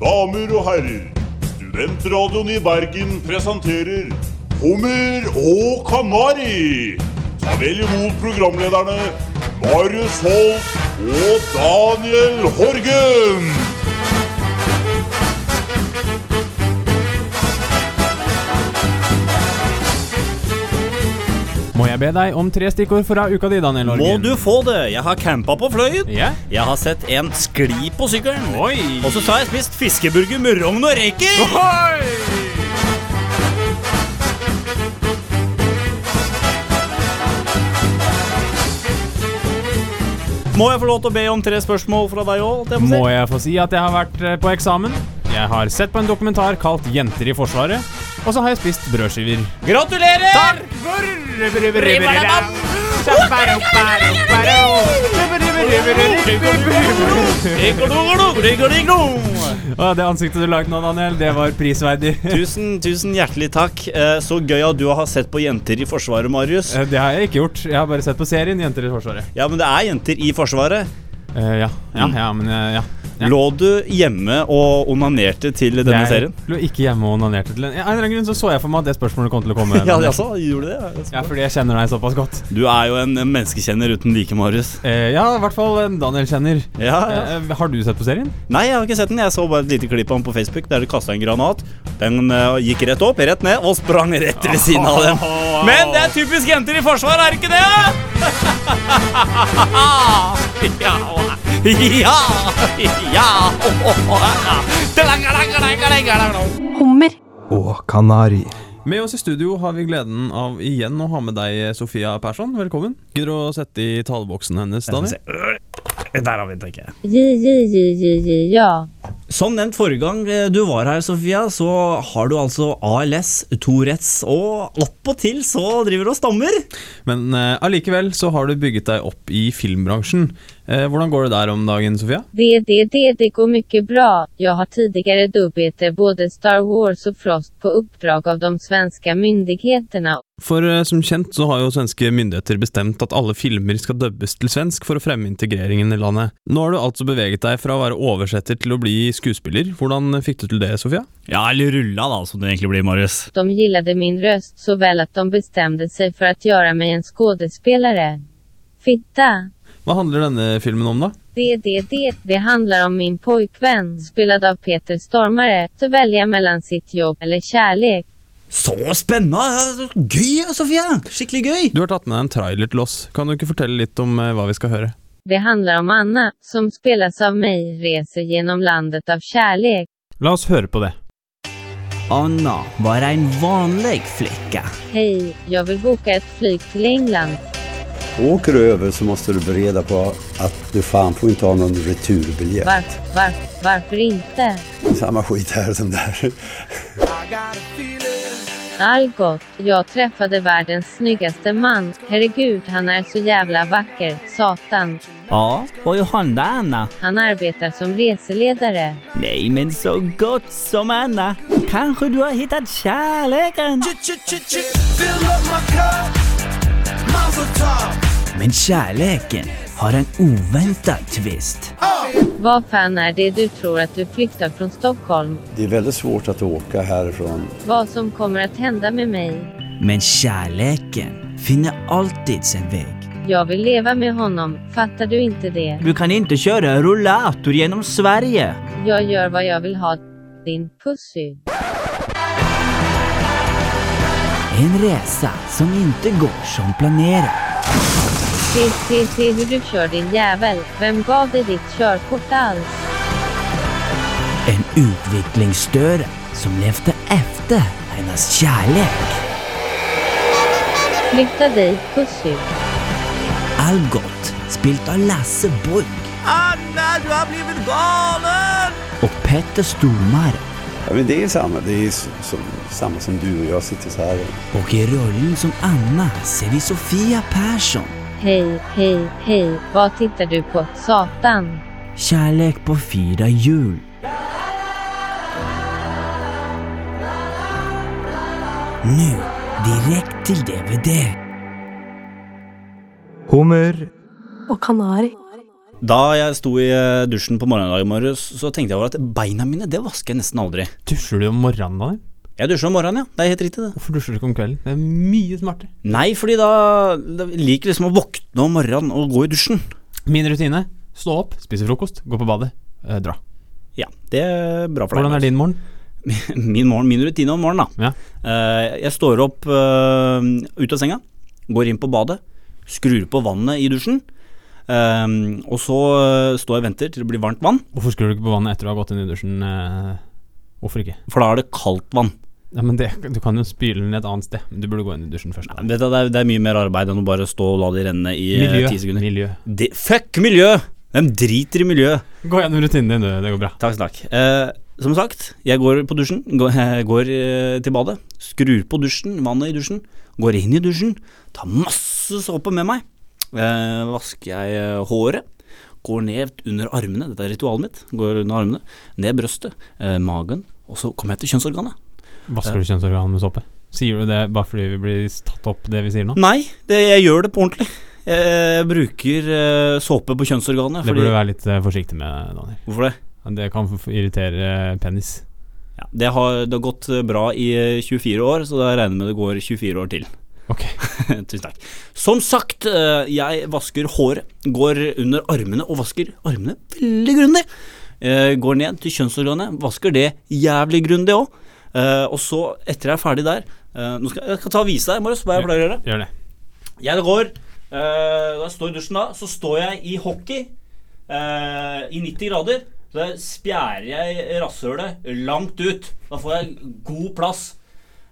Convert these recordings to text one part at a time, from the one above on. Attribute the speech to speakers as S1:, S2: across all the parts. S1: Damer og herrer, studentradioen i Bergen presenterer Hummer og Kanari. Ta vel imot programlederne Marius Holst og Daniel Horgen.
S2: Må jeg be deg om tre stikkord fra uka di, Daniel
S3: Må
S2: Orgen?
S3: du få det? Jeg har campa på Fløyen.
S2: Ja.
S3: Jeg har sett en skli på sykkelen.
S2: Oi!
S3: Og så har jeg spist fiskeburger med rogn og reker. Må jeg få lov til å be om tre spørsmål fra deg òg?
S2: Må jeg få si at jeg har vært eh, på eksamen? Jeg har sett på en dokumentar kalt 'Jenter i Forsvaret', og så har jeg spist brødskiver.
S3: Gratulerer!
S2: Og det ansiktet du lagde nå, Daniel, det var prisverdig.
S3: Tusen, tusen hjertelig takk. Eh, Så gøy at du har sett på Jenter i Forsvaret, Marius.
S2: Eh, Det har jeg ikke gjort. Jeg har bare sett på serien 'Jenter i Forsvaret'.
S3: Ja, men det er jenter i Forsvaret.
S2: Eh, ja. ja, ja, men eh, ja. ja.
S3: Lå du hjemme og onanerte til denne
S2: jeg
S3: serien?
S2: lå ikke hjemme og onanerte til en Av en eller annen grunn så så jeg for meg at det spørsmålet kom til å komme.
S3: Ja,
S2: Daniel.
S3: altså, gjorde du det?
S2: ja, fordi jeg kjenner deg såpass godt.
S3: Du er jo en menneskekjenner uten like, Marius.
S2: Eh, ja, i hvert fall eh, Daniel kjenner.
S3: Ja, ja.
S2: Eh, har du sett på serien?
S3: Nei, jeg har ikke sett den. Jeg så bare et lite klipp av den på Facebook der det kasta en granat. Den eh, gikk rett opp, rett ned og sprang rett ved siden av den. Men det er typisk jenter i forsvar, er det ikke det? ja, ja, ja.
S4: Hummer.
S5: og kanari.
S2: Med oss i studio har vi gleden av igjen å ha med deg, eh, Sofia Persson. Velkommen. Gidder du å sette i taleboksen hennes, Daniel?
S3: Der har vi den, tenker jeg.
S6: Gi, gi, gi, gi, gi, ja.
S3: Som nevnt forrige gang eh, du var her, Sofia, så har du altså ALS, Tourettes, og oppåtil så driver du og stammer.
S2: Men eh, allikevel så har du bygget deg opp i filmbransjen. Eh, hvordan går det der om dagen, Sofia?
S6: Det, det, det, det går mycket bra. Jag har tidigare dubbelte både Star Wars och Frost på uppdrag av de svenska myndigheterna.
S2: For eh, som kjent så har jo svenske myndigheter bestemt at alle filmer skal dubbes til svensk for å fremme integreringen i landet. Nå har du altså beveget deg fra å være oversetter til å bli skuespiller. Hvordan fikk du til det, Sofia?
S3: Ja, eller rulla, da, som det egentlig blir, Marius.
S6: De gillade min röst så väl att de bestämde sig för att göra mig en skådespelare. Fitta.
S2: Hva handler denne filmen om, da?
S6: Det, det, det, det handlar om min pojkvän, spelad av Peter Stormare, att välja mellan sitt jobb eller kärlek.
S3: Så spennende! Gøy, Sofia! Skikkelig gøy!
S2: Du har tatt med deg en trailer til oss. Kan du ikke fortelle litt om eh, hva vi skal høre?
S6: Det handlar om Anna, som spelas av mig, reser genom landet av kärlek.
S2: La oss høre på det.
S3: Anna var en vanlig flicka.
S6: Hej, jag vill boka ett flyg till England.
S7: Åker du över så måste du bereda på att du fan får inte ha någon returbiljett.
S6: Varför, varför, varför inte?
S7: Samma skit här som där.
S6: Algot, jag träffade världens snyggaste man. Herregud, han är så jävla vacker. Satan.
S8: Ja, vad ju hända Anna?
S6: Han arbetar som reseledare.
S8: Nej, men så gott som Anna. Kanske du har hittat kärleken? Men kärleken har en oväntad twist.
S6: Vad fan är det du tror att du flyttar från Stockholm?
S7: Det är väldigt svårt att åka härifrån.
S6: Vad som kommer att hända med mig?
S8: Men kärleken finner alltid sin väg.
S6: Jag vill leva med honom, fattar du inte det?
S8: Du kan inte köra rullator genom Sverige.
S6: Jag gör vad jag vill ha. Din pussy.
S8: En resa som inte går som planerat.
S6: Se, se, se hur du kör din jävel. Vem gav dig ditt körkort alls?
S8: En utvecklingsstörd som levde efter hennes kärlek.
S6: Flytta dig, pussy.
S8: Algot, spilt av Lasse Borg. Anna, du har blivit galen! Och Petter Stormare.
S7: Ja, men det är samma. Det är s- som, samma som du och jag sitter så här.
S8: Och i rollen som Anna ser vi Sofia Persson.
S6: Hej, hej, hej. Vad tittar du på? Satan.
S8: Kärlek på fyra hjul. Nu, direkt till DVD.
S5: Hummer
S4: Og kanari.
S3: Da jeg sto i eh, dusjen på morgenen i dag morges, så tenkte jeg over at beina mine det vasker jeg nesten aldri.
S2: Dusjer du om morgenen da?
S3: Jeg dusjer om morgenen, ja. Det er helt riktig, det.
S2: Hvorfor dusjer du ikke om kvelden? Det er mye smartere.
S3: Nei, fordi da da liker liksom å våkne om morgenen og gå i dusjen.
S2: Min rutine stå opp, spise frokost, gå på badet, eh, dra.
S3: Ja, det er bra for deg.
S2: Hvordan er din morgen?
S3: Min, morgen, min rutine om morgenen, da.
S2: Ja.
S3: Eh, jeg står opp eh, ut av senga, går inn på badet, skrur på vannet i dusjen. eh, og så eh, står jeg og venter til det blir varmt vann,
S2: Hvorfor skrur du ikke på vannet etter du har gått inn i dusjen? eh? Hvorfor ikke?
S3: for da er det kaldt vann.
S2: Ja, men det, Du kan jo spyle den et annet sted, men du burde gå inn i dusjen først.
S3: Vet du, det, er, det er mye mer arbeid enn å bare stå og la det renne i eh,
S2: Miljø.
S3: ti sekunder.
S2: Miljø.
S3: Det- fuck miljø! Hvem driter i miljø?
S2: Gå gjennom rutinen din, du. Det går bra.
S3: Takk, takk. Eh, som sagt, jeg går på dusjen, går, går eh, til badet, skrur på dusjen, vannet i dusjen, går inn i dusjen, tar masse såpe med meg, eh, vasker jeg eh, håret, går ned under armene, dette er ritualet mitt, går under armene, ned brøstet, eh, magen, og så kommer jeg til kjønnsorganet.
S2: Vasker du kjønnsorganet med såpe? Sier du det bare fordi vi blir tatt opp det vi sier nå?
S3: Nei, det, jeg gjør det på ordentlig. Jeg, jeg bruker eh, såpe på kjønnsorganet.
S2: Det
S3: fordi-
S2: burde du være litt eh, forsiktig med, Daniel.
S3: Hvorfor det?
S2: Det kan f- irritere eh, penis.
S3: Ja, det, har, det har gått eh, bra i eh, 24 år, så da regner jeg med det går 24 år til.
S2: Ok.
S3: Tusen takk. Som sagt, eh, jeg vasker håret. Går under armene og vasker armene veldig grundig. Eh, Går ned til kjønnsorganet, vasker det jævlig grundig òg. Og så, etter jeg er ferdig der eh, Nå skal jeg skal ta og vise deg, Marius, hva jeg pleier å gjøre.
S2: Gjør det.
S3: Jeg går eh, Da jeg står i dusjen da, så står jeg i hockey eh, i 90 grader. Så der spjærer jeg rasshølet langt ut. Da får jeg god plass.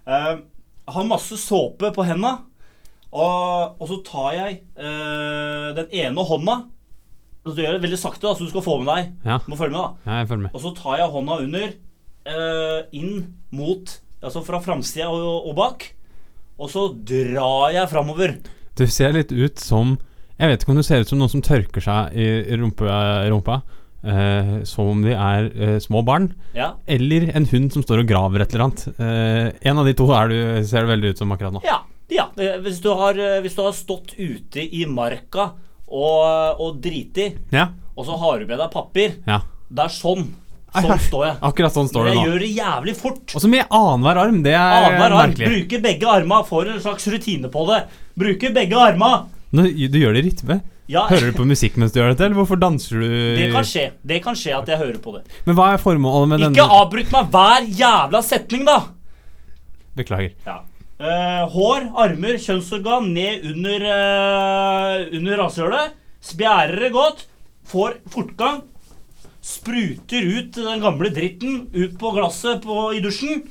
S3: Eh, jeg har masse såpe på henda, og, og så tar jeg eh, den ene hånda Så gjør jeg det veldig sakte, da, så du skal få med deg.
S2: Ja.
S3: Du må følge med, da.
S2: Ja, jeg følger med.
S3: Og så tar jeg hånda under eh, inn mot Altså fra framsida og, og bak. Og så drar jeg framover.
S2: Du ser litt ut som Jeg vet ikke om du ser ut som noen som tørker seg i rumpa, rumpa eh, som om de er eh, små barn,
S3: Ja.
S2: eller en hund som står og graver et eller annet. Eh, en av de to er du, ser du veldig ut som akkurat nå.
S3: ja, ja. eh, Hvis, du har, eh, hvis du har stått ute i marka og, og driti,
S2: Ja.
S3: og så har du med deg papir
S2: ja.
S3: Det er sånn. Sånn står jeg.
S2: Akkurat sånn står du
S3: Men jeg
S2: nå.
S3: gjør det jævlig fort.
S2: Og så med annenhver arm. Det er
S3: Annenhver arm.
S2: merkelig.
S3: Bruker begge arma. Får en slags rutine på det. Bruker begge arma.
S2: Nå, du gjør det i rytme.
S3: Ja,
S2: Hører du på musikk mens du gjør dette, eller hvorfor danser du?
S3: det kan skje. Det kan skje at jeg hører på det.
S2: Men hva er formålet med
S3: Ikke
S2: denne
S3: avbryt meg hver jævla setning, da!
S2: Beklager.
S3: Ja. Eh, hår, armer, kjønnsorgan ned under, eh, under rasshølet. Spjærer det godt. Får fortgang. Spruter ut den gamle dritten ut på glasset på, i dusjen.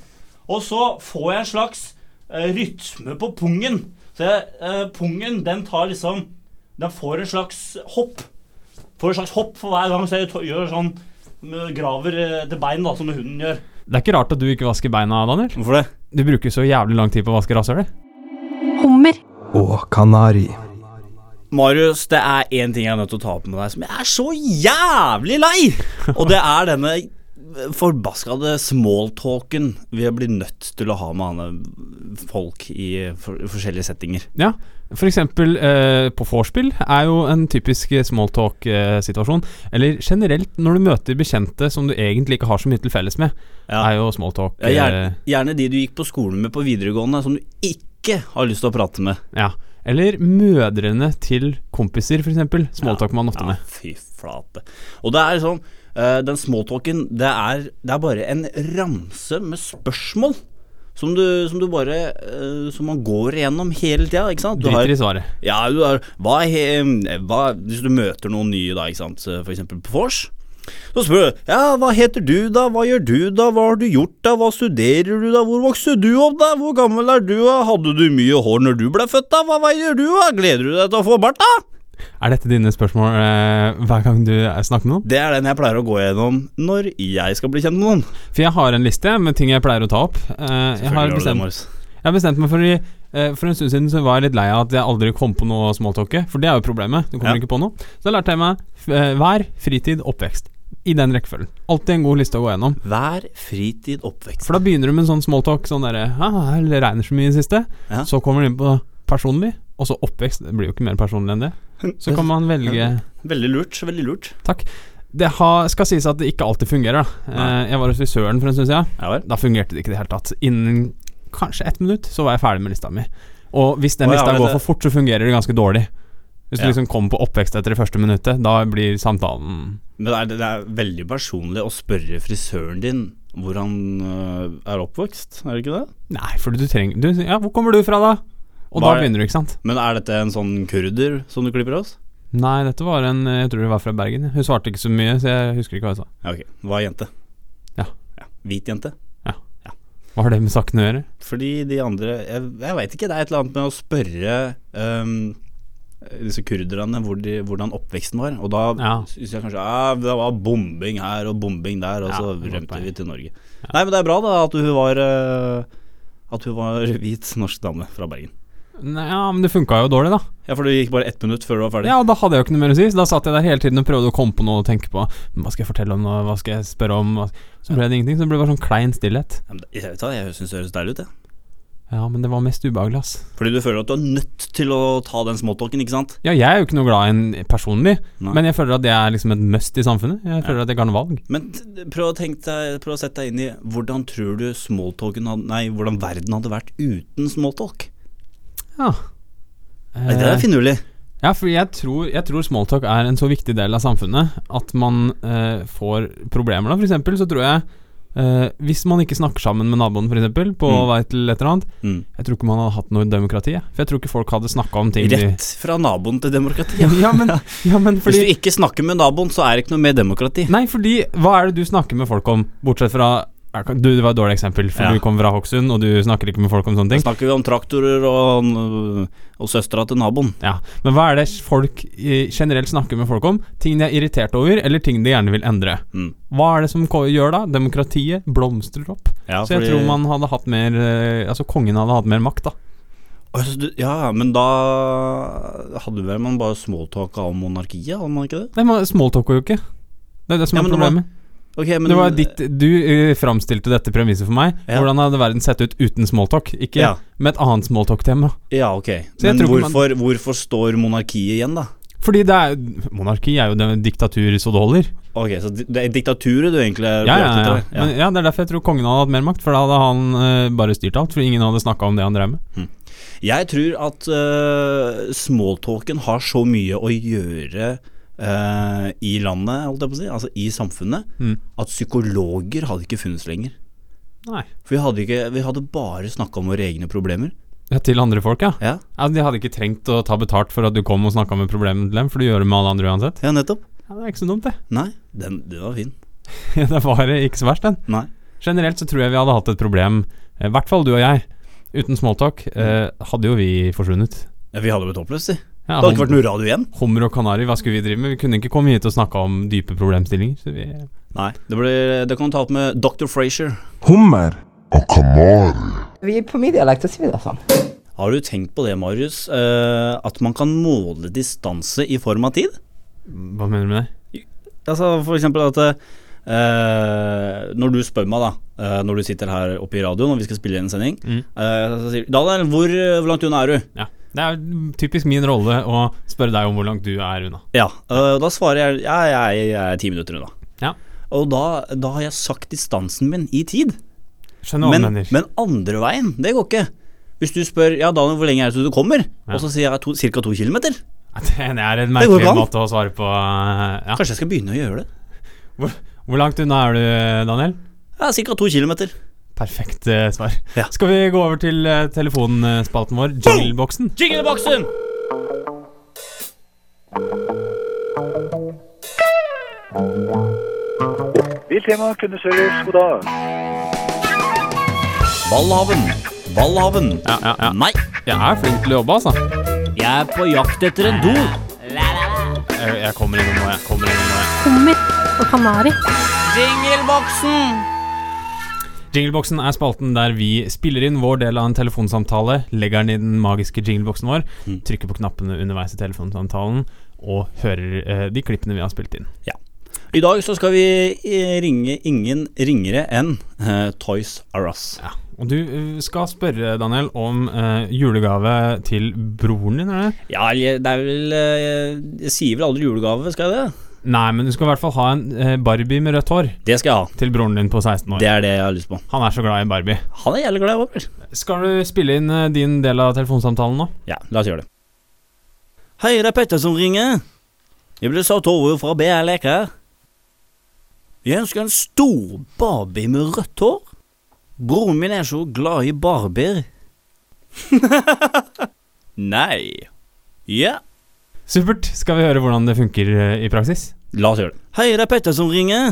S3: Og så får jeg en slags eh, rytme på pungen. Så jeg, eh, pungen, den tar liksom Den får en slags hopp. Får en slags hopp for hver gang så jeg to- gjør sånn Graver eh, til bein, da, som hunden gjør.
S2: Det er ikke rart at du ikke vasker beina, Daniel.
S3: Hvorfor det?
S2: Du bruker så jævlig lang tid på å vaske rasshølet.
S4: hummer,
S9: og kanari.
S3: Marius, det er én ting jeg er nødt til å ta opp med deg som jeg er så jævlig lei! Og det er denne forbaskede smalltalken vi blir nødt til å ha med andre folk i for forskjellige settinger.
S2: Ja, for eksempel eh, på vorspiel er jo en typisk eh, smalltalk-situasjon. Eller generelt når du møter bekjente som du egentlig ikke har så mye til felles med,
S3: Ja.
S2: er jo smalltalk.
S3: Ja, gjerne,
S2: eh,
S3: gjerne de du gikk på skolen med på videregående, som du ikke har lyst til å prate med.
S2: ja. Eller mødrene til kompiser, for eksempel. Smalltalk man ofte
S3: Ja,
S2: med.
S3: fy flate. Og det er sånn eh, Den smalltalken, det er, det er bare en ramse med spørsmål. Som du, som du bare eh, Som man går igjennom hele tida, ikke sant? Du har-
S2: Driter i svaret.
S3: ja, du har hva, er he, hva Hvis du møter noen nye, da, ikke sant, eh, for eksempel på vors, så spør du Ja, hva heter du, da? Hva gjør du, da? Hva har du gjort, da? Hva studerer du, da? Hvor vokste du opp, da? Hvor gammel er du, da? Hadde du mye hår når du ble født, da? Hva veier du, da? Gleder du deg til å få bart, da?
S2: Er dette dine spørsmål eh, hver gang du eh, snakker med noen?
S3: Det er den jeg pleier å gå gjennom når jeg skal bli kjent med noen.
S2: For jeg har en liste med ting jeg pleier å ta opp. Eh, jeg har bestemt Jeg har bestemt meg for å eh, For en stund siden så var jeg litt lei av at jeg aldri kom på noe å smalltalke. For det er jo problemet. Du kommer
S3: Ja.
S2: ikke på noe. Så da lærte jeg meg f- eh, vær, fritid, oppvekst. I den rekkefølgen. Alltid en god liste å gå gjennom.
S3: Hver fritid oppvekst.
S2: For da begynner du med en sånn smalltalk. Sånn derre ah, Det regner så mye i det siste.
S3: Ja.
S2: Så kommer du inn på personlig, og så oppvekst. Det blir jo ikke mer personlig enn det. Så kan man velge
S10: Veldig lurt. Veldig lurt.
S2: Takk. Det har, skal sies at det ikke alltid fungerer. Da.
S10: Nei.
S2: Eh, Jeg var hos frisøren for en stund siden.
S10: Ja vel.
S2: Da fungerte det ikke i det hele tatt. Innen kanskje ett minutt så var jeg ferdig med lista mi. Og hvis den
S10: Å, ja,
S2: lista
S10: men
S2: går
S10: det-
S2: for fort, så fungerer det ganske dårlig. Hvis
S10: Ja.
S2: du liksom kommer på oppvekst etter det første minuttet, da blir samtalen
S10: Men det er, det er veldig personlig å spørre frisøren din hvor han øh, er oppvokst, er det ikke det?
S2: Nei, for du trenger du, Ja, hvor kommer du fra, da? Og da
S10: Hva er-
S2: begynner du, ikke sant?
S10: Men er dette en sånn kurder som du klipper oss?
S2: Nei, dette var en Jeg tror det var fra Bergen. Hun svarte ikke så mye, så jeg husker ikke hva hun sa.
S10: Ja, ok. Hva er jente?
S2: Ja.
S10: Hvit jente?
S2: Hva har det med saken å gjøre?
S10: Fordi de andre Jeg, jeg veit ikke, det er et eller annet med å spørre øhm, disse kurderne hvor de, hvordan oppveksten var. Og da
S2: Ja.
S10: syns jeg kanskje ja, det var bombing her og bombing der, og
S2: Ja,
S10: så
S2: det var
S10: rømte
S2: poeng.
S10: vi til Norge. Nei, men det er bra da at hun var øh, At hun var hvit norsk dame fra Bergen.
S2: Nei, ja, men det funka jo dårlig, da.
S10: Ja, for det gikk bare ett minutt før du var ferdig.
S2: Ja, og da hadde jeg jo ikke noe mer å si, så da satt jeg der hele tiden og prøvde å komme på noe å tenke på. Men Hva skal jeg fortelle om nå, hva skal jeg spørre om? Hva- Så ble det ingenting, så det ble bare sånn klein stillhet.
S10: Ja, men det- Jeg, vet da, jeg syns det høres deilig ut, jeg.
S2: Ja, men det var mest ubehagelig, ass.
S10: Fordi du føler at du er nødt til å ta den småtalken, ikke sant?
S2: Ja, jeg er jo ikke noe glad i en personlig,
S10: Nei.
S2: men jeg føler at det er liksom et must i samfunnet. Jeg føler at jeg ikke har noe valg.
S10: Men t- prøv å, tenke deg, prøv å sette deg inn i hvordan tror du smalltalken hadde, Nei, hvordan verden hadde vært uten smalltalk?
S2: Ja.
S10: Nei, det
S2: Eh.
S10: er finurlig.
S2: Ja, for jeg tror, jeg tror smalltalk er en så viktig del av samfunnet at man eh, får problemer da. For eksempel så tror jeg eh, Hvis man ikke snakker sammen med naboen, for eksempel, på
S10: Mm.
S2: vei til et eller annet,
S10: Mm.
S2: jeg tror ikke man hadde hatt noe demokrati. jeg. For jeg tror ikke folk hadde snakka om ting de-
S10: Rett fra naboen til demokrati.
S2: Ja, men, ja, men
S10: Hvis du
S2: fordi
S10: ikke snakker med naboen, så er det ikke noe mer demokrati.
S2: Nei, fordi hva er det du snakker med folk om, bortsett fra du, Det var et dårlig eksempel, for
S10: Ja.
S2: du kommer fra Hokksund, og du snakker ikke med folk om sånne
S10: Da
S2: ting.
S10: snakker vi om traktorer og, og søstera til naboen.
S2: Ja, Men hva er det folk eh, generelt snakker med folk om? Ting de er irritert over, eller ting de gjerne vil endre.
S10: Mm.
S2: Hva er det som ko- gjør da? Demokratiet blomstrer opp.
S10: Ja,
S2: så jeg
S10: fordi-
S2: tror man hadde hatt mer eh, Altså kongen hadde hatt mer makt, da.
S10: Altså, du- Ja, men da hadde vel man bare smalltalka om monarkiet, hadde man ikke det?
S2: Nei, man smalltalker jo ikke. Det er det som
S10: Ja,
S2: er
S10: men det var-
S2: problemet.
S10: Ok, men
S2: det var ditt, du eh, framstilte dette premisset for meg.
S10: Ja.
S2: Hvordan hadde verden sett ut uten smalltalk? Ikke
S10: Ja.
S2: med et annet smalltalk-tema.
S10: Ja, ok.
S2: Så jeg
S10: Men
S2: tror ikke man-
S10: hvorfor, hvorfor står monarkiet igjen, da?
S2: Fordi det er Monarki er jo det diktatur så det holder.
S10: Ok, så di- det er diktaturet du egentlig er
S2: Ja, ja,
S10: ute
S2: ja.
S10: etter,
S2: Men, ja, Det er derfor jeg tror kongen hadde hatt mer makt, for da hadde han eh, bare styrt alt. Fordi ingen hadde snakka om det han drev med.
S10: Jeg tror at uh, smalltalken har så mye å gjøre eh, i landet, holdt jeg på å si, altså i samfunnet,
S2: Mm.
S10: at psykologer hadde ikke funnes lenger.
S2: Nei.
S10: For vi hadde, ikke, vi hadde bare snakka om våre egne problemer.
S2: Ja, til andre folk, ja.
S10: Ja,
S2: ja. De hadde ikke trengt å ta betalt for at du kom og snakka med problemet til dem, for du gjør det med alle andre uansett.
S10: ja nettopp.
S2: Ja, Det er ikke så dumt, det.
S10: Nei, den, den var fin.
S2: det var ikke så verst, den.
S10: Nei.
S2: Generelt så tror jeg vi hadde hatt et problem, eh, i hvert fall du og jeg. Uten smalltalk eh, hadde jo vi forsvunnet.
S10: Ja, vi hadde blitt oppløst, vi.
S2: Ja,
S10: Det hadde ikke vært noe radio igjen.
S2: Hummer og kanari, hva skulle vi drive med? Vi kunne ikke komme hit og snakke om dype problemstillinger. Så vi
S10: Nei. Det, blir, det kan du ta opp med Dr. Frazier.
S8: Vi på min dialekt så sier vi det sånn.
S10: Har du tenkt på det, Marius, eh, at man kan måle distanse i form av tid?
S2: Hva mener du med det?
S10: Altså for eksempel at eh, Når du spør meg da eh, Når du sitter her oppe i radioen Og vi skal spille inn en sending
S2: Mm.
S10: eh, Så sier du Daniel, hvor, hvor langt unna er du?
S2: Ja. Det er typisk min rolle å spørre deg om hvor langt du er unna.
S10: Ja eh, Da svarer jeg Ja, jeg, jeg er ti minutter unna
S2: Ja.
S10: Og da, da har jeg sagt distansen min i tid
S2: Skjønner hva du
S10: men,
S2: mener.
S10: men andre veien, det går ikke Hvis du spør Ja, Daniel, hvor lenge er det til du kommer?
S2: Ja.
S10: Og så sier jeg to, cirka to kilometer
S2: det er en
S10: går ikke
S2: merkelig
S10: an.
S2: måte å svare på. eh, Ja.
S10: Kanskje jeg skal begynne å gjøre det?
S2: Hvor, hvor langt unna er du, Daniel?
S10: Ja, cirka to kilometer
S2: Perfekt eh, svar.
S10: Ja.
S2: Skal vi gå over til eh, telefonspalten vår, jingleboksen?
S10: Jingleboksen!
S11: Biltema, kundeservice, god dag.
S10: Valhaven Valhaven
S2: Ja, ja, ja.
S10: Nei
S2: Jeg er flink til å jobbe, altså.
S10: Jeg er på jakt etter en do
S2: Jeg, jeg kommer innom nå, jeg. Kommer innom nå, jeg.
S12: Hummer og kanari.
S2: Jingleboksen er spalten der vi spiller inn vår del av en telefonsamtale, legger den i den magiske jingleboksen vår, trykker på knappene underveis i telefonsamtalen og hører eh, de klippene vi har spilt inn.
S10: I dag så skal vi eh, ringe ingen ringere enn eh, Toys R Us.
S2: Ja, Og du eh, skal spørre, Daniel, om eh, julegave til broren din, er det?
S10: Ja, jeg- det er vel eh, Jeg, jeg sier vel aldri julegave, skal jeg det?
S2: Nei, men du skal i hvert fall ha en eh, Barbie med rødt hår.
S10: Det skal jeg ha.
S2: Til broren din på 16 år.
S10: Det er det jeg har lyst på.
S2: Han er så glad i Barbie.
S10: Han er jævlig glad i Barbie.
S2: Skal du spille inn eh, din del av telefonsamtalen nå?
S10: Ja, la oss gjøre det. Hei, det er Petter som ringer. Jeg ble satt over fra BR Leker. Jeg ønsker en stor Barbie med rødt hår. Broren min er så glad i barbier. Nei. Ja.
S2: Supert. Skal vi høre hvordan det funker eh, i praksis?
S10: La oss gjøre det. Hei, det er Petter som ringer.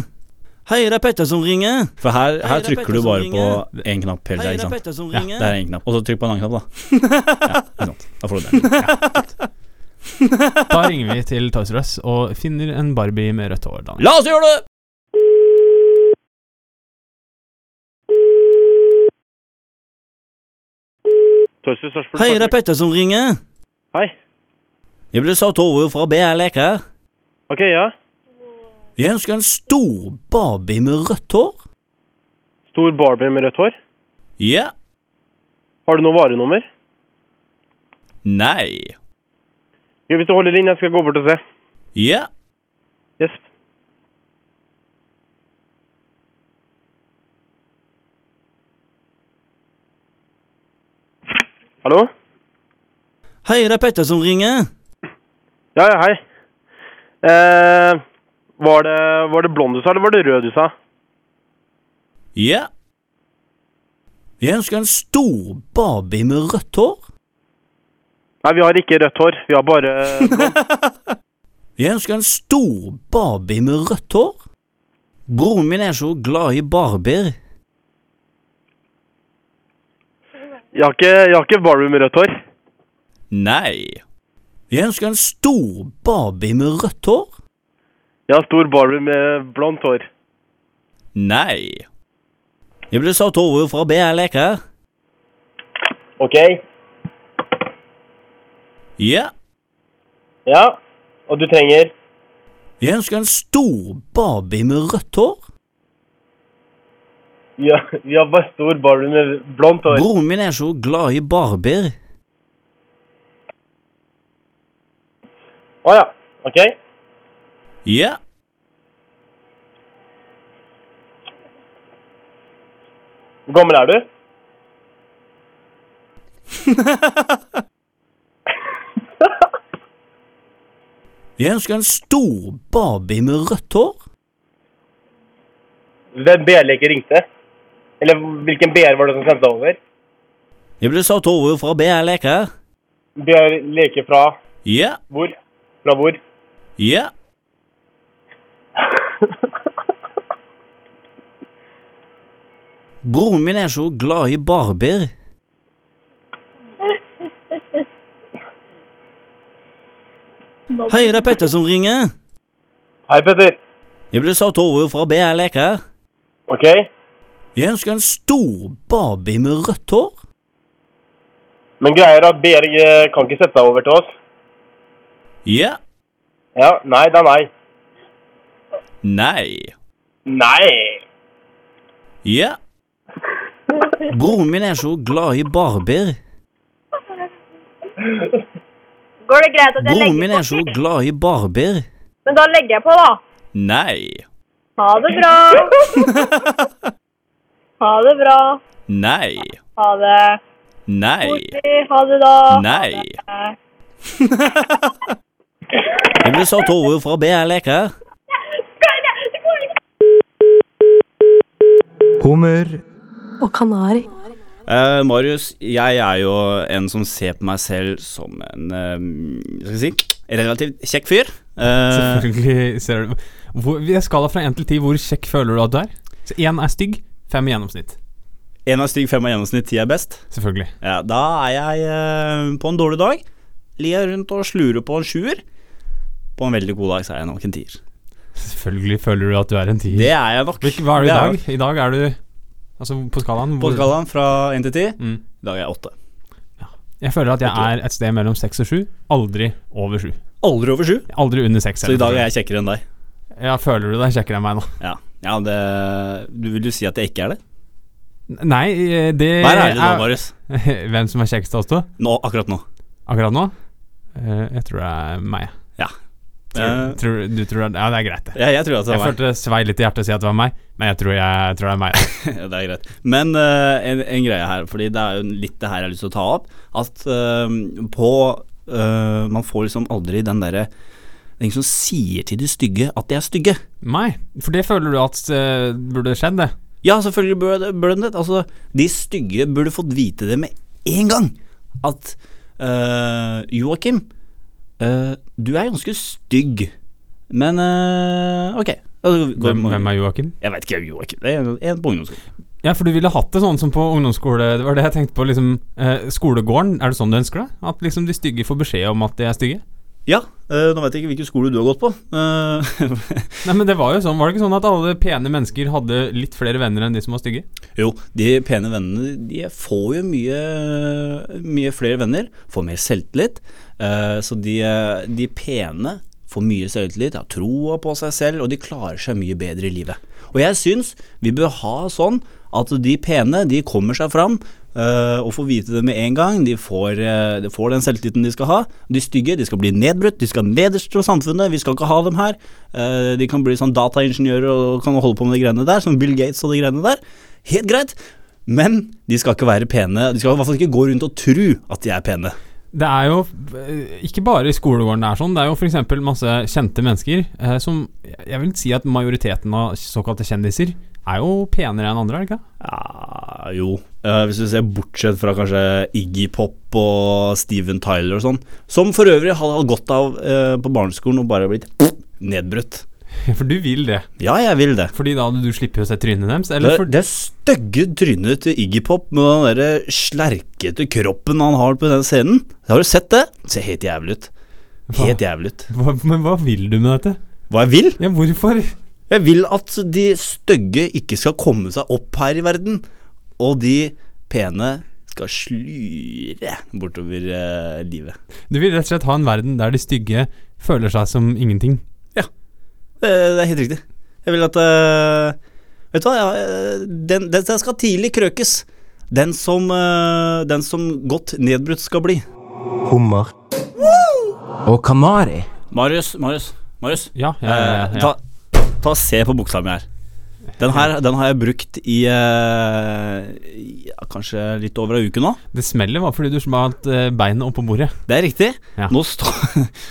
S10: Hei, det er Petter som ringer. For her,
S2: Hei, det
S10: her
S2: er
S10: trykker du
S2: Petter
S10: bare
S2: som
S10: på én knapp
S2: Hei,
S10: hele tida,
S2: det er
S10: ikke sant?
S2: Petter som
S10: ja,
S2: ringer.
S10: det er en knapp. Og så trykk på en annen knapp, da. ja, ikke sant. Da får du den.
S2: Da ringer vi til Toys R Us og finner en Barbie med rødt hår. Daniel.
S10: La oss gjøre det! Hei, det er Petter som ringer.
S11: Hei.
S10: Jeg ble satt over fra BR Leker.
S11: Ok, ja.
S10: Jeg ønsker en stor Barbie med rødt hår.
S11: Stor Barbie med rødt hår.
S10: Ja.
S11: Har du noe varenummer?
S10: Nei.
S11: Jo, hvis du holder linja, skal jeg gå bort og se.
S10: Ja.
S11: Yes. Hallo?
S10: Hei, det er Petter som ringer.
S11: Ja, ja, hei. Eh, var, det, var det blond du sa, eller var det rød du sa?
S10: Ja. Jeg ønsker en stor Barbie med rødt hår.
S11: Nei, vi har ikke rødt hår. Vi har bare blond.
S10: Jeg ønsker en stor Barbie med rødt hår. Broren min er så glad i barbier.
S11: Jeg har ikke, jeg har ikke Barbie med rødt hår.
S10: Nei. Jeg ønsker en stor Barbie med rødt hår.
S11: Jeg har stor Barbie med blondt hår.
S10: Nei. Jeg ble satt over fra BR Leker.
S11: Ok.
S10: Ja.
S11: Ja. Og du trenger
S10: Jeg ønsker en stor Barbie med rødt hår.
S11: ja, Vi har bare stor Barbie med blondt hår.
S10: Broren min er så glad i barbier.
S11: Å ja. Ok.
S10: Ja.
S11: Hvor gammel er du?
S10: Jeg ønsker en stor Barbie med rødt hår.
S11: Hvem BR-leker ringte? Eller hvilken BR var det som sendte deg over?
S10: Jeg ble satt over fra BR Leker.
S11: BR-leker fra
S10: Ja.
S11: hvor? Fra hvor?
S10: Ja. Broren min er så glad i barbier. Hei, det er Petter som ringer.
S11: Hei, Petter.
S10: Jeg ble satt over fra BR Leker.
S11: Ok.
S10: Jeg ønsker en stor Barbie med rødt hår.
S11: Men greier at BR eh, kan ikke sette deg over til oss.
S10: Ja.
S11: Ja, nei, det er nei.
S10: Nei.
S11: Nei.
S10: Ja. Broren min er så glad i barbier.
S13: Går det greit at jeg
S10: Broren min
S13: legger
S10: er så glad i barbier.
S13: Men da legger jeg på, da.
S10: Nei.
S13: Ha det bra. ha det bra.
S10: Nei.
S13: Ha det.
S10: Nei.
S13: Koselig. Ha det, da.
S10: Nei.
S13: Ha det.
S10: Jeg ble satt over fra E BR Leker.
S14: Hummer.
S12: Og kanari.
S10: Eh, Marius, jeg er jo en som ser på meg selv som en eh, Skal vi si relativt kjekk fyr. Eh,
S2: Selvfølgelig ser du hvor, Vi skala fra 1 til 10, hvor kjekk føler du at du er? Så 1 er stygg, 5 er gjennomsnitt.
S10: En av stygg fem av gjennomsnitt ti er best.
S2: Selvfølgelig.
S10: Ja, da er jeg eh, på en dårlig dag. Lir rundt og slurer på en sjuer. På en veldig god dag så er jeg nok en tier.
S2: Selvfølgelig føler du at du er en 10.
S10: Det er jeg nok.
S2: Hvilke- Hva er du i
S10: Det
S2: dag?
S10: jeg nok.
S2: I dag er du Altså på skalaen?
S10: På
S2: hvor-
S10: skalaen fra én til ti?
S2: Mm.
S10: I dag er jeg åtte.
S2: Jeg føler at jeg er et sted mellom 6 og 7. Aldri over 7.
S10: Aldri over sju?
S2: Aldri under 6.
S10: Så i dag er jeg kjekkere enn deg?
S2: Ja, føler du deg kjekkere enn meg nå?
S10: Ja. ja det, du vil jo si at jeg ikke er det?
S2: Nei, eh, det
S10: Vær ærlig nå, Marius.
S2: Hvem som er kjekkest av oss to?
S10: Nå, akkurat nå.
S2: Akkurat nå? Eh, Jeg tror det er meg.
S10: Ja.
S2: Tror,
S10: Eh.
S2: tror, du tror det er Ja, det er greit, det.
S10: Ja, jeg tror at det er
S2: jeg
S10: meg.
S2: følte det svei litt i hjertet å si at det var meg, men jeg tror, jeg, tror det er meg.
S10: Ja, det er greit. Men eh, en, en greie her, Fordi det er jo litt det her jeg har lyst til å ta opp. At eh, på eh, Man får liksom aldri den derre Det er ingen som sier til de stygge at de er stygge.
S2: Nei, for det føler du at eh, burde skjedd, det.
S10: Ja, selvfølgelig burde det- burde det. Altså, de stygge burde fått vite det med en gang. At uh, Joakim, eh, du er ganske stygg, men eh, ok.
S2: Hvem, hvem er Joakim?
S10: Jeg veit ikke hvem Joakim Det er en- en på ungdomsskolen.
S2: Ja, for du ville hatt det sånn som på ungdomsskole Det var det jeg tenkte på, liksom eh, Skolegården, er det sånn du ønsker det? At liksom de stygge får beskjed om at de er stygge?
S10: Ja, eh, nå veit jeg ikke hvilken skole du har gått på. Eh,
S2: Nei, men det var jo sånn Var det ikke sånn at alle pene mennesker hadde litt flere venner enn de som var stygge?
S10: Jo, de pene vennene de får jo mye, mye flere venner, får mer selvtillit. Eh, Så de, de pene får mye selvtillit, har troa på seg selv, og de klarer seg mye bedre i livet. Og jeg syns vi bør ha sånn at de pene de kommer seg fram eh, og får vite det med en gang. De får, eh, de får den selvtilliten de skal ha. De stygge de skal bli nedbrutt, de skal nederst fra samfunnet. Vi skal ikke ha dem her. Eh, De kan bli sånn dataingeniører og kan holde på med de greiene der, som Bill Gates og de greiene der. Helt greit. Men de skal ikke være pene. De skal i hvert fall ikke gå rundt og tro at de er pene.
S2: Det er jo eh, ikke bare i skolegården det er sånn, det er jo f.eks. masse kjente mennesker eh, som Jeg vil si at majoriteten av såkalte kjendiser er jo penere enn andre, er det ikke?
S10: Ja, jo. Eh, hvis du ser bortsett fra kanskje Iggy Pop og Steven Tyler og sånn. Som for øvrig hadde hatt godt av eh, på barneskolen og bare blitt nedbrutt.
S2: For du vil det?
S10: Ja, jeg vil det.
S2: Fordi da hadde du sluppet å se trynet deres?
S10: Det,
S2: Eller for,
S10: det stygge trynet til Iggy Pop med den derre slerkete kroppen han har på den scenen. Har du sett det? Det ser helt jævlig ut. Helt jævlig ut.
S2: hva, men hva vil du med dette?
S10: Hva jeg vil?
S2: Ja, hvorfor?
S10: Jeg vil at de stygge ikke skal komme seg opp her i verden, og de pene skal slyre bortover eh, livet.
S2: Du vil rett og slett ha en verden der de stygge føler seg som ingenting.
S10: Det, det er helt riktig. Jeg vil at eh, Vet du hva, ja, eh, den, den, den skal tidlig krøkes. Den som, eh, den som godt nedbrutt skal bli.
S14: Hummer. Og kanari.
S10: Marius, Marius, Marius.
S2: Ja, ja, ja, ja.
S10: Eh, Ta, ta og se på buksa mi her. Den her den har jeg brukt i, eh, i ja, kanskje litt over ei uke nå.
S2: Det smellet var fordi du smalt eh, beinet oppå bordet.
S10: Det er riktig.
S2: Ja.
S10: Nå, stå,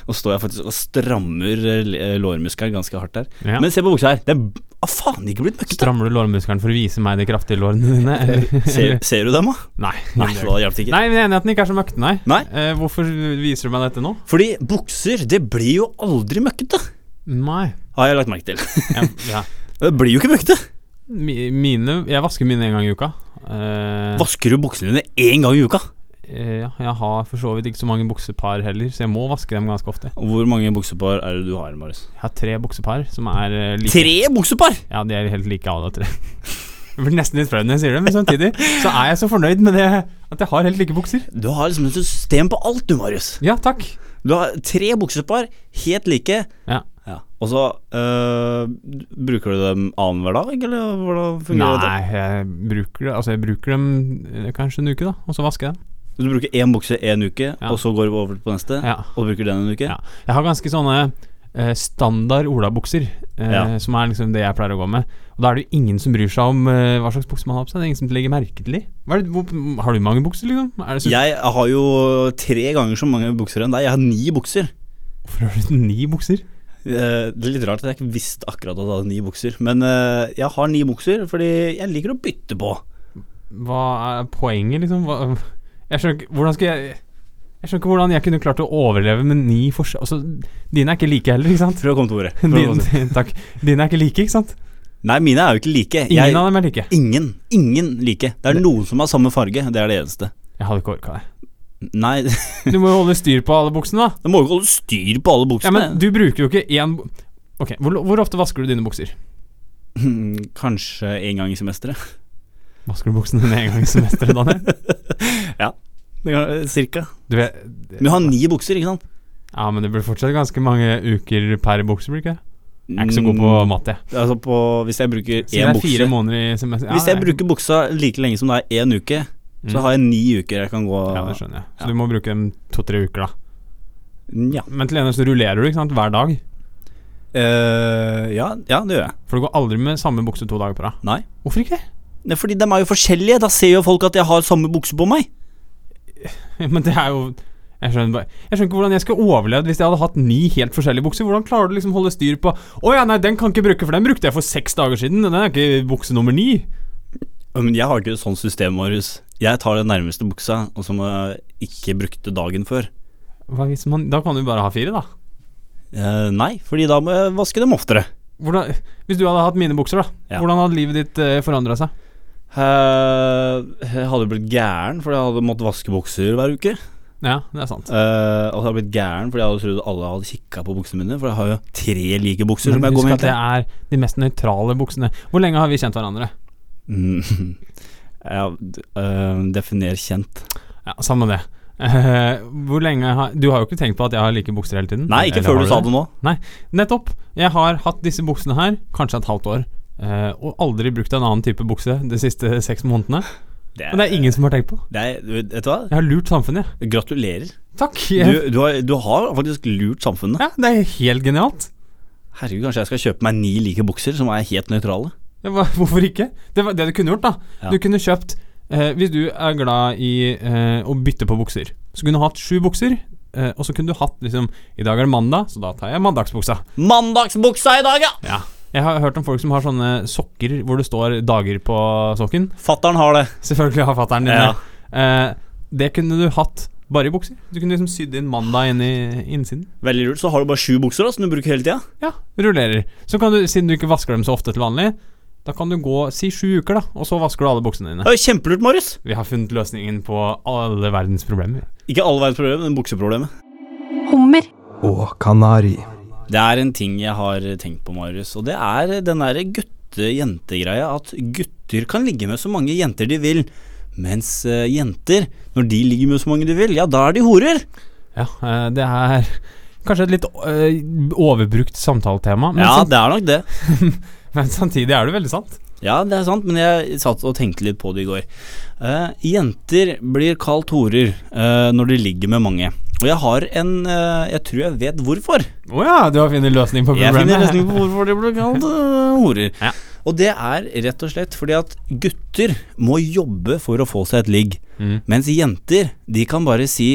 S10: nå står jeg faktisk og strammer eh, l- eh, lårmuskelen ganske hardt her.
S2: Ja.
S10: Men se på buksa her. Den b- har faen ikke blitt møkkete.
S2: Strammer du lårmuskelen for å vise meg de kraftige lårene dine? eller-
S10: Ser, ser du dem, da?
S2: Nei.
S10: Nei, så da hjalp det ikke.
S2: Nei, men jeg er enig i at den ikke er så møkkete, nei.
S10: Nei.
S2: Eh, hvorfor viser du meg dette nå?
S10: Fordi bukser, det blir jo aldri møkkete,
S2: Nei.
S10: har jeg lagt merke til.
S2: Ja, ja.
S10: det blir jo ikke møkkete.
S2: Mi- Mine Jeg vasker mine en gang i uka. Eh,
S10: Vasker du buksene dine én gang i uka?
S2: eh, ja, jeg har for så vidt ikke så mange buksepar heller, så jeg må vaske dem ganske ofte.
S10: Hvor mange buksepar er det du har, Marius?
S2: Jeg har tre buksepar som er eh, like.
S10: Tre buksepar!
S2: Ja, de er helt like alle tre. Jeg blir nesten litt flau når jeg sier det, men samtidig så er jeg så fornøyd med det at jeg har helt like bukser.
S10: Du har liksom et system på alt, du, Marius.
S2: Ja, takk.
S10: Du har tre buksepar, helt like.
S2: Ja.
S10: Og så øh, bruker du dem annenhver dag, eller hvordan fungerer
S2: Nei, jeg bruker, altså jeg bruker dem eh, kanskje en uke, da, og så vasker jeg dem.
S10: det? Du bruker én bukse én uke, og så går du over på neste,
S2: Ja.
S10: og bruker den en uke?
S2: Ja. Jeg har ganske sånne eh, standard olabukser, eh,
S10: Ja.
S2: som er liksom det jeg pleier å gå med. Og da er det jo ingen som bryr seg om eh, hva slags bukse man har på seg. Det er ingen som legger merke til de. Hva er det, hvor, har du mange bukser, liksom? Er det så,
S10: Jeg har jo tre ganger så mange bukser enn deg. Jeg har ni bukser.
S2: Hvorfor har du ni bukser?
S10: Eh, Det er litt rart at jeg ikke visste akkurat at jeg hadde ni bukser, men eh, jeg har ni bukser fordi jeg liker å bytte på.
S2: Hva er poenget, liksom? Hva, jeg skjønner ikke Hvordan skal jeg Jeg skjønner ikke hvordan jeg kunne klart å overleve med ni forskjell... Altså, dine er ikke like heller, ikke sant?
S10: Prøv å komme til ordet. Prøv å
S2: Din,
S10: komme til-
S2: din, takk. Dine er ikke like, ikke sant?
S10: Nei, mine er jo ikke like.
S2: Ingen av dem er like.
S10: Ingen. Ingen like. Det er noen som har samme farge, det er det eneste.
S2: Jeg hadde ikke orka det.
S10: Nei,
S2: Du må jo holde styr på alle buksene, da.
S10: du må jo ikke holde styr på alle
S2: Ja,
S10: buksene.
S2: men du bruker jo ikke én bu- Ok, hvor, hvor ofte vasker du dine bukser?
S10: Hmm, Kanskje en gang i semesteret.
S2: Vasker du buksene dine en gang i semesteret, Daniel?
S10: Ja, det kan- cirka.
S2: Du vet
S10: Men du har ni bukser, ikke sant?
S2: Ja, men det blir fortsatt ganske mange uker per bukse, blir det ikke det? Jeg er ikke så god på matte.
S10: Altså på, hvis jeg bruker
S2: Så det
S10: én
S2: er
S10: bukse
S2: fire måneder i semester. Ja,
S10: Hvis
S2: det
S10: jeg
S2: er-
S10: bruker buksa like lenge som det er én uke,
S2: Mm.
S10: så har jeg ni uker jeg kan gå
S2: Ja, det skjønner jeg. Så du må bruke dem to-tre uker, da.
S10: Mm, Ja.
S2: Men til eneste rullerer du, ikke sant, hver dag?
S10: Eh, ja, det gjør jeg.
S2: For du går aldri med samme bukse to dager på rad?
S10: Nei.
S2: Hvorfor ikke det?
S10: Nei, Fordi de er jo forskjellige. Da ser jo folk at jeg har samme bukse på meg.
S2: Men det er jo jeg skjønner, bare- jeg skjønner ikke hvordan jeg skulle overlevd hvis jeg hadde hatt ni helt forskjellige bukser. Hvordan klarer du liksom holde styr på Å ja, nei, den kan jeg ikke bruke, for den brukte jeg for seks dager siden. Den er ikke bukse nummer ni.
S10: Ja, Men jeg har ikke et sånt system, Marius. Jeg tar den nærmeste buksa, og som jeg ikke brukte dagen før.
S2: Hva hvis man, da kan du bare ha fire, da.
S10: Eh, nei, fordi da må jeg vaske dem oftere.
S2: Hvordan, hvis du hadde hatt mine bukser, da.
S10: Ja.
S2: Hvordan hadde livet ditt eh, forandra seg?
S10: Eh, jeg hadde blitt gæren fordi jeg hadde måttet vaske bukser hver uke.
S2: Ja, det er sant.
S10: Eh, og så hadde jeg blitt gæren fordi jeg hadde trodd alle hadde kikka på buksene mine. For jeg har jo tre like bukser som
S2: Men
S10: jeg går
S2: husk
S10: med.
S2: at det er de mest nøytrale buksene. Hvor lenge har vi kjent hverandre?
S10: hele tiden. Mm. ja, d- eh, definer kjent.
S2: Ja, Samme det. Eh, hvor lenge har Du har jo ikke tenkt på at jeg har like bukser hele tiden?
S10: Nei, ikke
S2: Eller
S10: før
S2: har
S10: du sa det nå.
S2: Nei, nettopp. Jeg har hatt disse buksene her kanskje et halvt år, eh, og aldri brukt en annen type bukse de siste seks månedene.
S10: Det er-
S2: Men det er ingen som har tenkt på.
S10: Det er, vet du hva?
S2: Jeg har lurt samfunnet,
S10: jeg. Gratulerer.
S2: Takk.
S10: Du, du, har, du har faktisk lurt samfunnet.
S2: Ja, det er helt genialt.
S10: Herregud, kanskje jeg skal kjøpe meg ni like bukser som er helt nøytrale.
S2: Det var, hvorfor ikke? Det var det du kunne gjort, da.
S10: Ja.
S2: Du kunne kjøpt eh, Hvis du er glad i eh, å bytte på bukser, så kunne du hatt sju bukser. eh, og så kunne du hatt liksom I dag er det mandag, så da tar jeg mandagsbuksa.
S10: Mandagsbuksa i dag, ja!
S2: Ja. Jeg har hørt om folk som har sånne sokker hvor det står dager på sokken.
S10: Fattern har det.
S2: Selvfølgelig har fattern din
S10: Ja.
S2: det. Eh, det kunne du hatt bare i bukser. Du kunne liksom sydd inn mandag inn i innsiden.
S10: Veldig lurt. Så har du bare sju bukser da, som du bruker hele tida.
S2: Ja, rullerer. Så kan du, siden du ikke vasker dem så ofte til vanlig, da kan du gå si sju uker, da, og så vasker du alle buksene dine.
S10: Det er jo kjempelurt, Marius.
S2: Vi har funnet løsningen på alle verdens problemer.
S10: Ikke all verdens problem, men bukseproblemet.
S12: Hummer.
S14: og kanari.
S10: Det er en ting jeg har tenkt på, Marius, og det er den derre gutte-jente-greia. At gutter kan ligge med så mange jenter de vil, mens eh, jenter, når de ligger med så mange de vil, ja, da er de horer.
S2: Ja, eh, det er kanskje et litt eh, overbrukt samtaletema. men
S10: Ja,
S2: samt-
S10: det er nok det.
S2: men samtidig er det veldig sant.
S10: Ja, det er sant, men jeg satt og tenkte litt på det i går. Eh, jenter blir kalt horer eh, når de ligger med mange. Og jeg har en eh, Jeg tror jeg vet hvorfor.
S2: Å ja, du har funnet løsning på
S10: Jeg
S2: problemet.
S10: finner løsning på hvorfor de blir kalt eh, horer. Og det er rett og slett fordi at gutter må jobbe for å få seg et ligg. Mens jenter, de kan bare si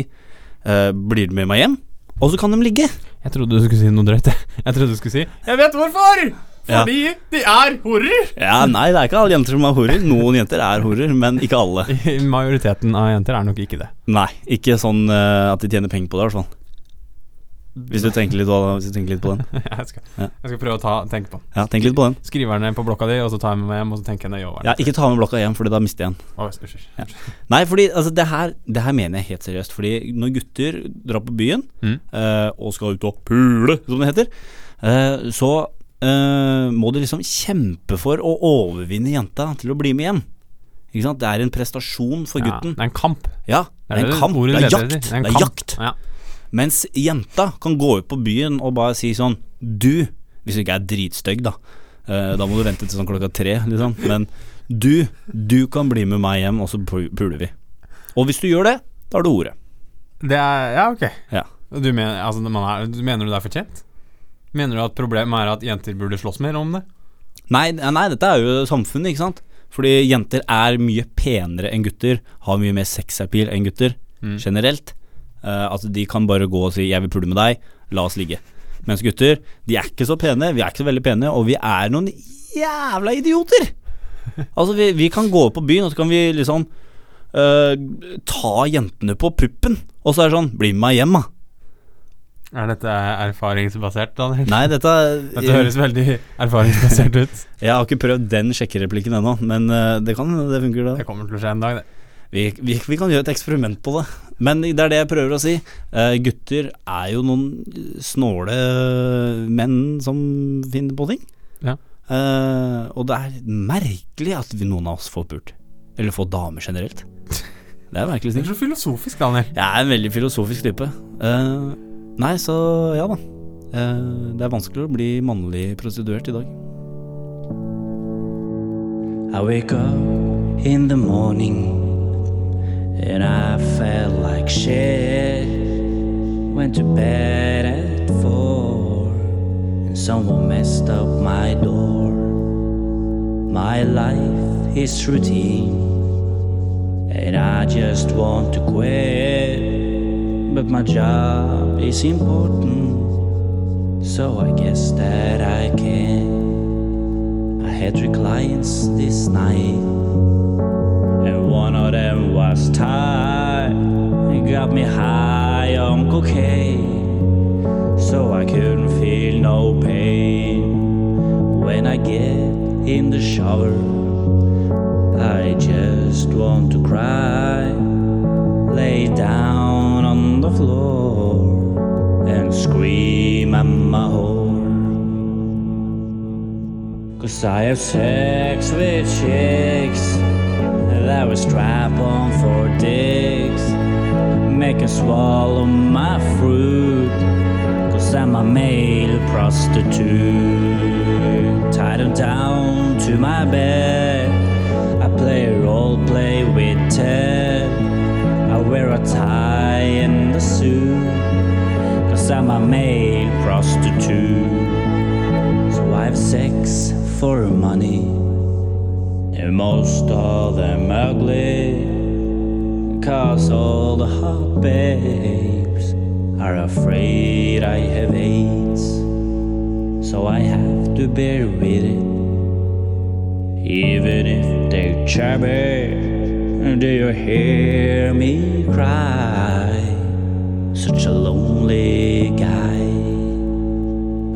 S10: eh, 'blir du med meg hjem?' Og så kan de ligge.
S2: Jeg trodde du skulle si noe drøyt. Jeg Jeg trodde du skulle si Jeg vet hvorfor!
S10: Ja.
S2: Fordi de er horer!
S10: Ja, Nei, det er ikke alle jenter som er horer. Noen jenter er horer, men ikke alle.
S2: Majoriteten av jenter er nok ikke det.
S10: Nei, ikke sånn eh, at de tjener penger på det, i hvert fall. Hvis du tenker litt, på- hvis du tenker litt på den.
S2: Jeg skal,
S10: Ja.
S2: jeg skal prøve å ta, tenke på den.
S10: Ja, tenk litt på den.
S2: Skriver den ned på blokka di, og så tar jeg med meg hjem og så tenker jeg nøye over den.
S10: Ja, ikke ta med blokka hjem, Fordi da mister jeg den.
S2: Å, unnskyld.
S10: Ja. Nei, fordi altså, det, her, det her mener jeg helt seriøst. Fordi når gutter drar på byen
S2: Mm.
S10: eh, og skal ut og pule, som det heter, eh, så eh, må de liksom kjempe for å overvinne jenta til å bli med hjem. Ikke sant? Det er en prestasjon for
S2: Ja,
S10: gutten.
S2: det er en kamp.
S10: Ja,
S2: Det er
S10: det er
S2: det
S10: en kamp.
S2: ordet
S10: Det er
S2: leder til.
S10: jakt. Det
S2: Det er en
S10: er
S2: kamp.
S10: jakt. Mens jenta kan gå ut på byen og bare si sånn Du, hvis du ikke er dritstygg, da. eh, Da må du vente til sånn klokka tre, liksom. Men du, du kan bli med meg hjem, og så pu- puler vi. Og hvis du gjør det, da har du ordet.
S2: Det er Ja, ok.
S10: Ja.
S2: Du mener, altså, man er, du mener du det er fortjent? Mener du at problemet er at jenter burde slåss mer om det?
S10: Nei, eh, nei, dette er jo samfunnet, ikke sant? Fordi jenter er mye penere enn gutter, har mye mer sexappeal enn gutter
S2: Mm.
S10: generelt. Eh, altså de kan bare gå og si 'jeg vil pule med deg, la oss ligge'. Mens gutter, de er ikke så pene, vi er ikke så veldig pene, og vi er noen jævla idioter! Altså, vi, vi kan gå på byen, og så kan vi liksom eh, ta jentene på puppen, og så er det sånn 'bli med meg hjem', da.
S2: Er dette erfaringsbasert, Daniel?
S10: Nei, dette er-
S2: Dette høres veldig erfaringsbasert ut.
S10: Jeg har ikke prøvd den sjekkereplikken ennå, men eh, det kan hende det funker, det.
S2: Det kommer til å skje en dag, det.
S10: Vi, vi, vi kan gjøre et eksperiment på det, men det er det jeg prøver å si. Eh, gutter er jo noen snåle menn som finner på ting.
S2: Ja.
S10: Eh, og det er merkelig at vi, noen av oss får pult. Eller får damer generelt. Det er merkelig ting.
S2: Du er så filosofisk, Daniel.
S10: Jeg er en veldig filosofisk type. Eh, nei, så ja da.
S15: Eh, Det er vanskelig å bli mannlig prostituert i dag.
S10: I wake up in the morning and I felt like shit. Went to bed at four and someone messed up my door. My life is routine and I just want to quit. But my job is important, so I guess that I can. I had three clients this night, and one of them was tired. He got me high on cocaine, so I couldn't feel no pain. When I get in the shower, I just want to cry. Lay down on the floor and scream, I'm a whore. Cause I have sex with chicks that was strap on for dicks. Make 'em swallow my fruit. Cause I'm a male prostitute. Tied 'em down to my bed. I play role play with Ted. I wear a tie and a suit. Cause I'm a male prostitute. So I have sex for money. And most of them ugly. Cause all the hot babes are afraid I have AIDS. So I have to bear with it. Even if they're chubby, do you hear me cry? Such a lonely guy.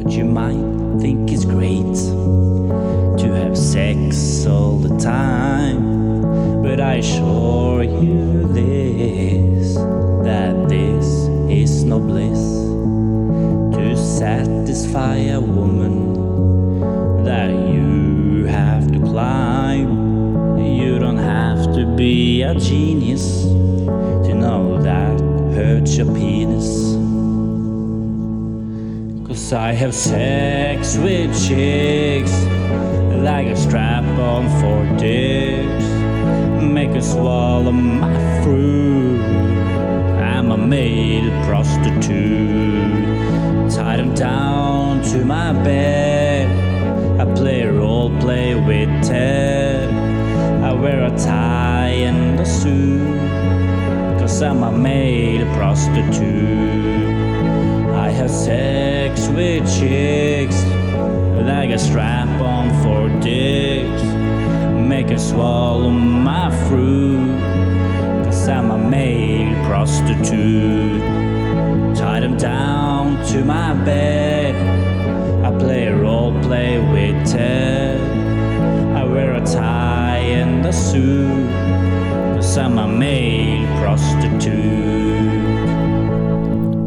S10: But you might think it's great to have sex all the time. But I assure you this that this is no bliss to satisfy a woman that you have to climb. You don't have to be a genius to know that hurts your penis. Cause I have sex with chicks Like a strap on for dicks Make her swallow my fruit I'm a male prostitute Tied 'em down to my bed I play role play with Ted I wear a tie and a suit Cause I'm a male prostitute I have sex with chicks like a strap on for dicks. Make her swallow my fruit, cause I'm a male prostitute. Tie them down to my bed. I play role play with Ted. I wear a tie and a suit, cause I'm a male prostitute.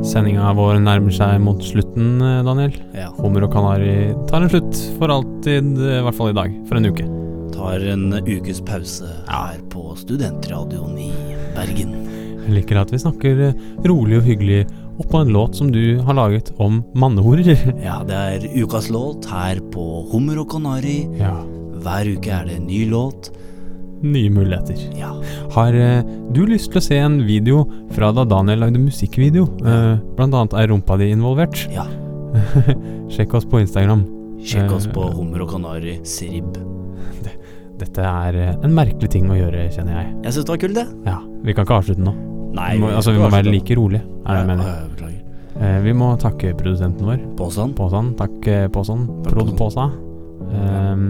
S2: Sendinga vår nærmer seg mot slutten, eh, Daniel. Hummer og kanari tar en slutt for alltid, eh, i hvert fall i dag. For en uke.
S15: Tar en ukes pause her på Studentradioen i Bergen.
S2: Jeg liker at vi snakker eh, rolig og hyggelig oppå en låt som du har laget om mannehorer.
S15: Ja, det er ukas låt her på Hummer og Kanari. Hver uke er det en ny låt.
S2: Nye muligheter. Har eh, du lyst til å se en video fra da Daniel lagde musikkvideo? Eh, Blant annet er rumpa di involvert?
S15: Ja.
S2: Sjekk oss på Instagram.
S15: Sjekk oss
S2: Eh,
S15: på Hummer og Kanari Srib.
S2: Dette er eh, en merkelig ting å gjøre, kjenner jeg.
S15: Jeg syns det var kult, det.
S2: Ja, Vi kan ikke avslutte nå.
S15: Nei,
S2: vi må,
S15: vi
S2: altså, vi
S15: skal
S2: må være
S15: avslutte.
S2: like rolige, er det jeg mener. Eh, vi må takke produsenten vår.
S15: Påsan.
S2: Påsan. Takk, eh, Påsan. Prod Påsa. Ehm,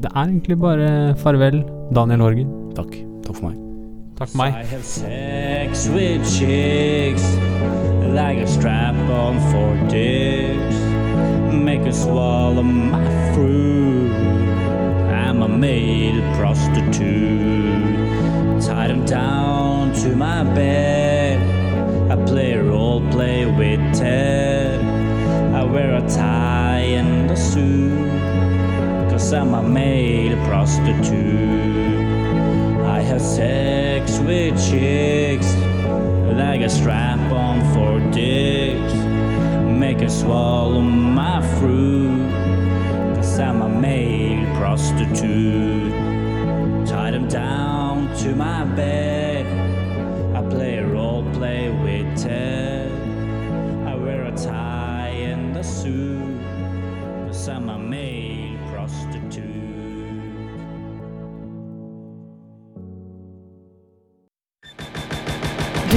S2: det er egentlig bare farvel, Daniel Horgen.
S15: Takk. Takk for meg.
S2: Takk for meg.
S10: I have sex with chicks like a strap on for dicks. Make her swallow my fruit. I'm a male prostitute. Tied 'em down to my bed. I play role play with Ted. I wear a tie and a suit. Cause I'm a male prostitute. I have sex with chicks like a strap on for dicks. Make make her swallow my fruit. Cause I'm a male prostitute. Tied him down to my bed. I play role play with Ted. I wear a tie and a suit. Cause I'm a male prostitute.
S4: Du